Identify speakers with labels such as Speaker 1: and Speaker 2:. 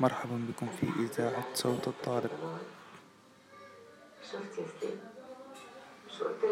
Speaker 1: مرحبا بكم في إذاعة صوت الطالب
Speaker 2: شفت يا ستيف مش قلت لك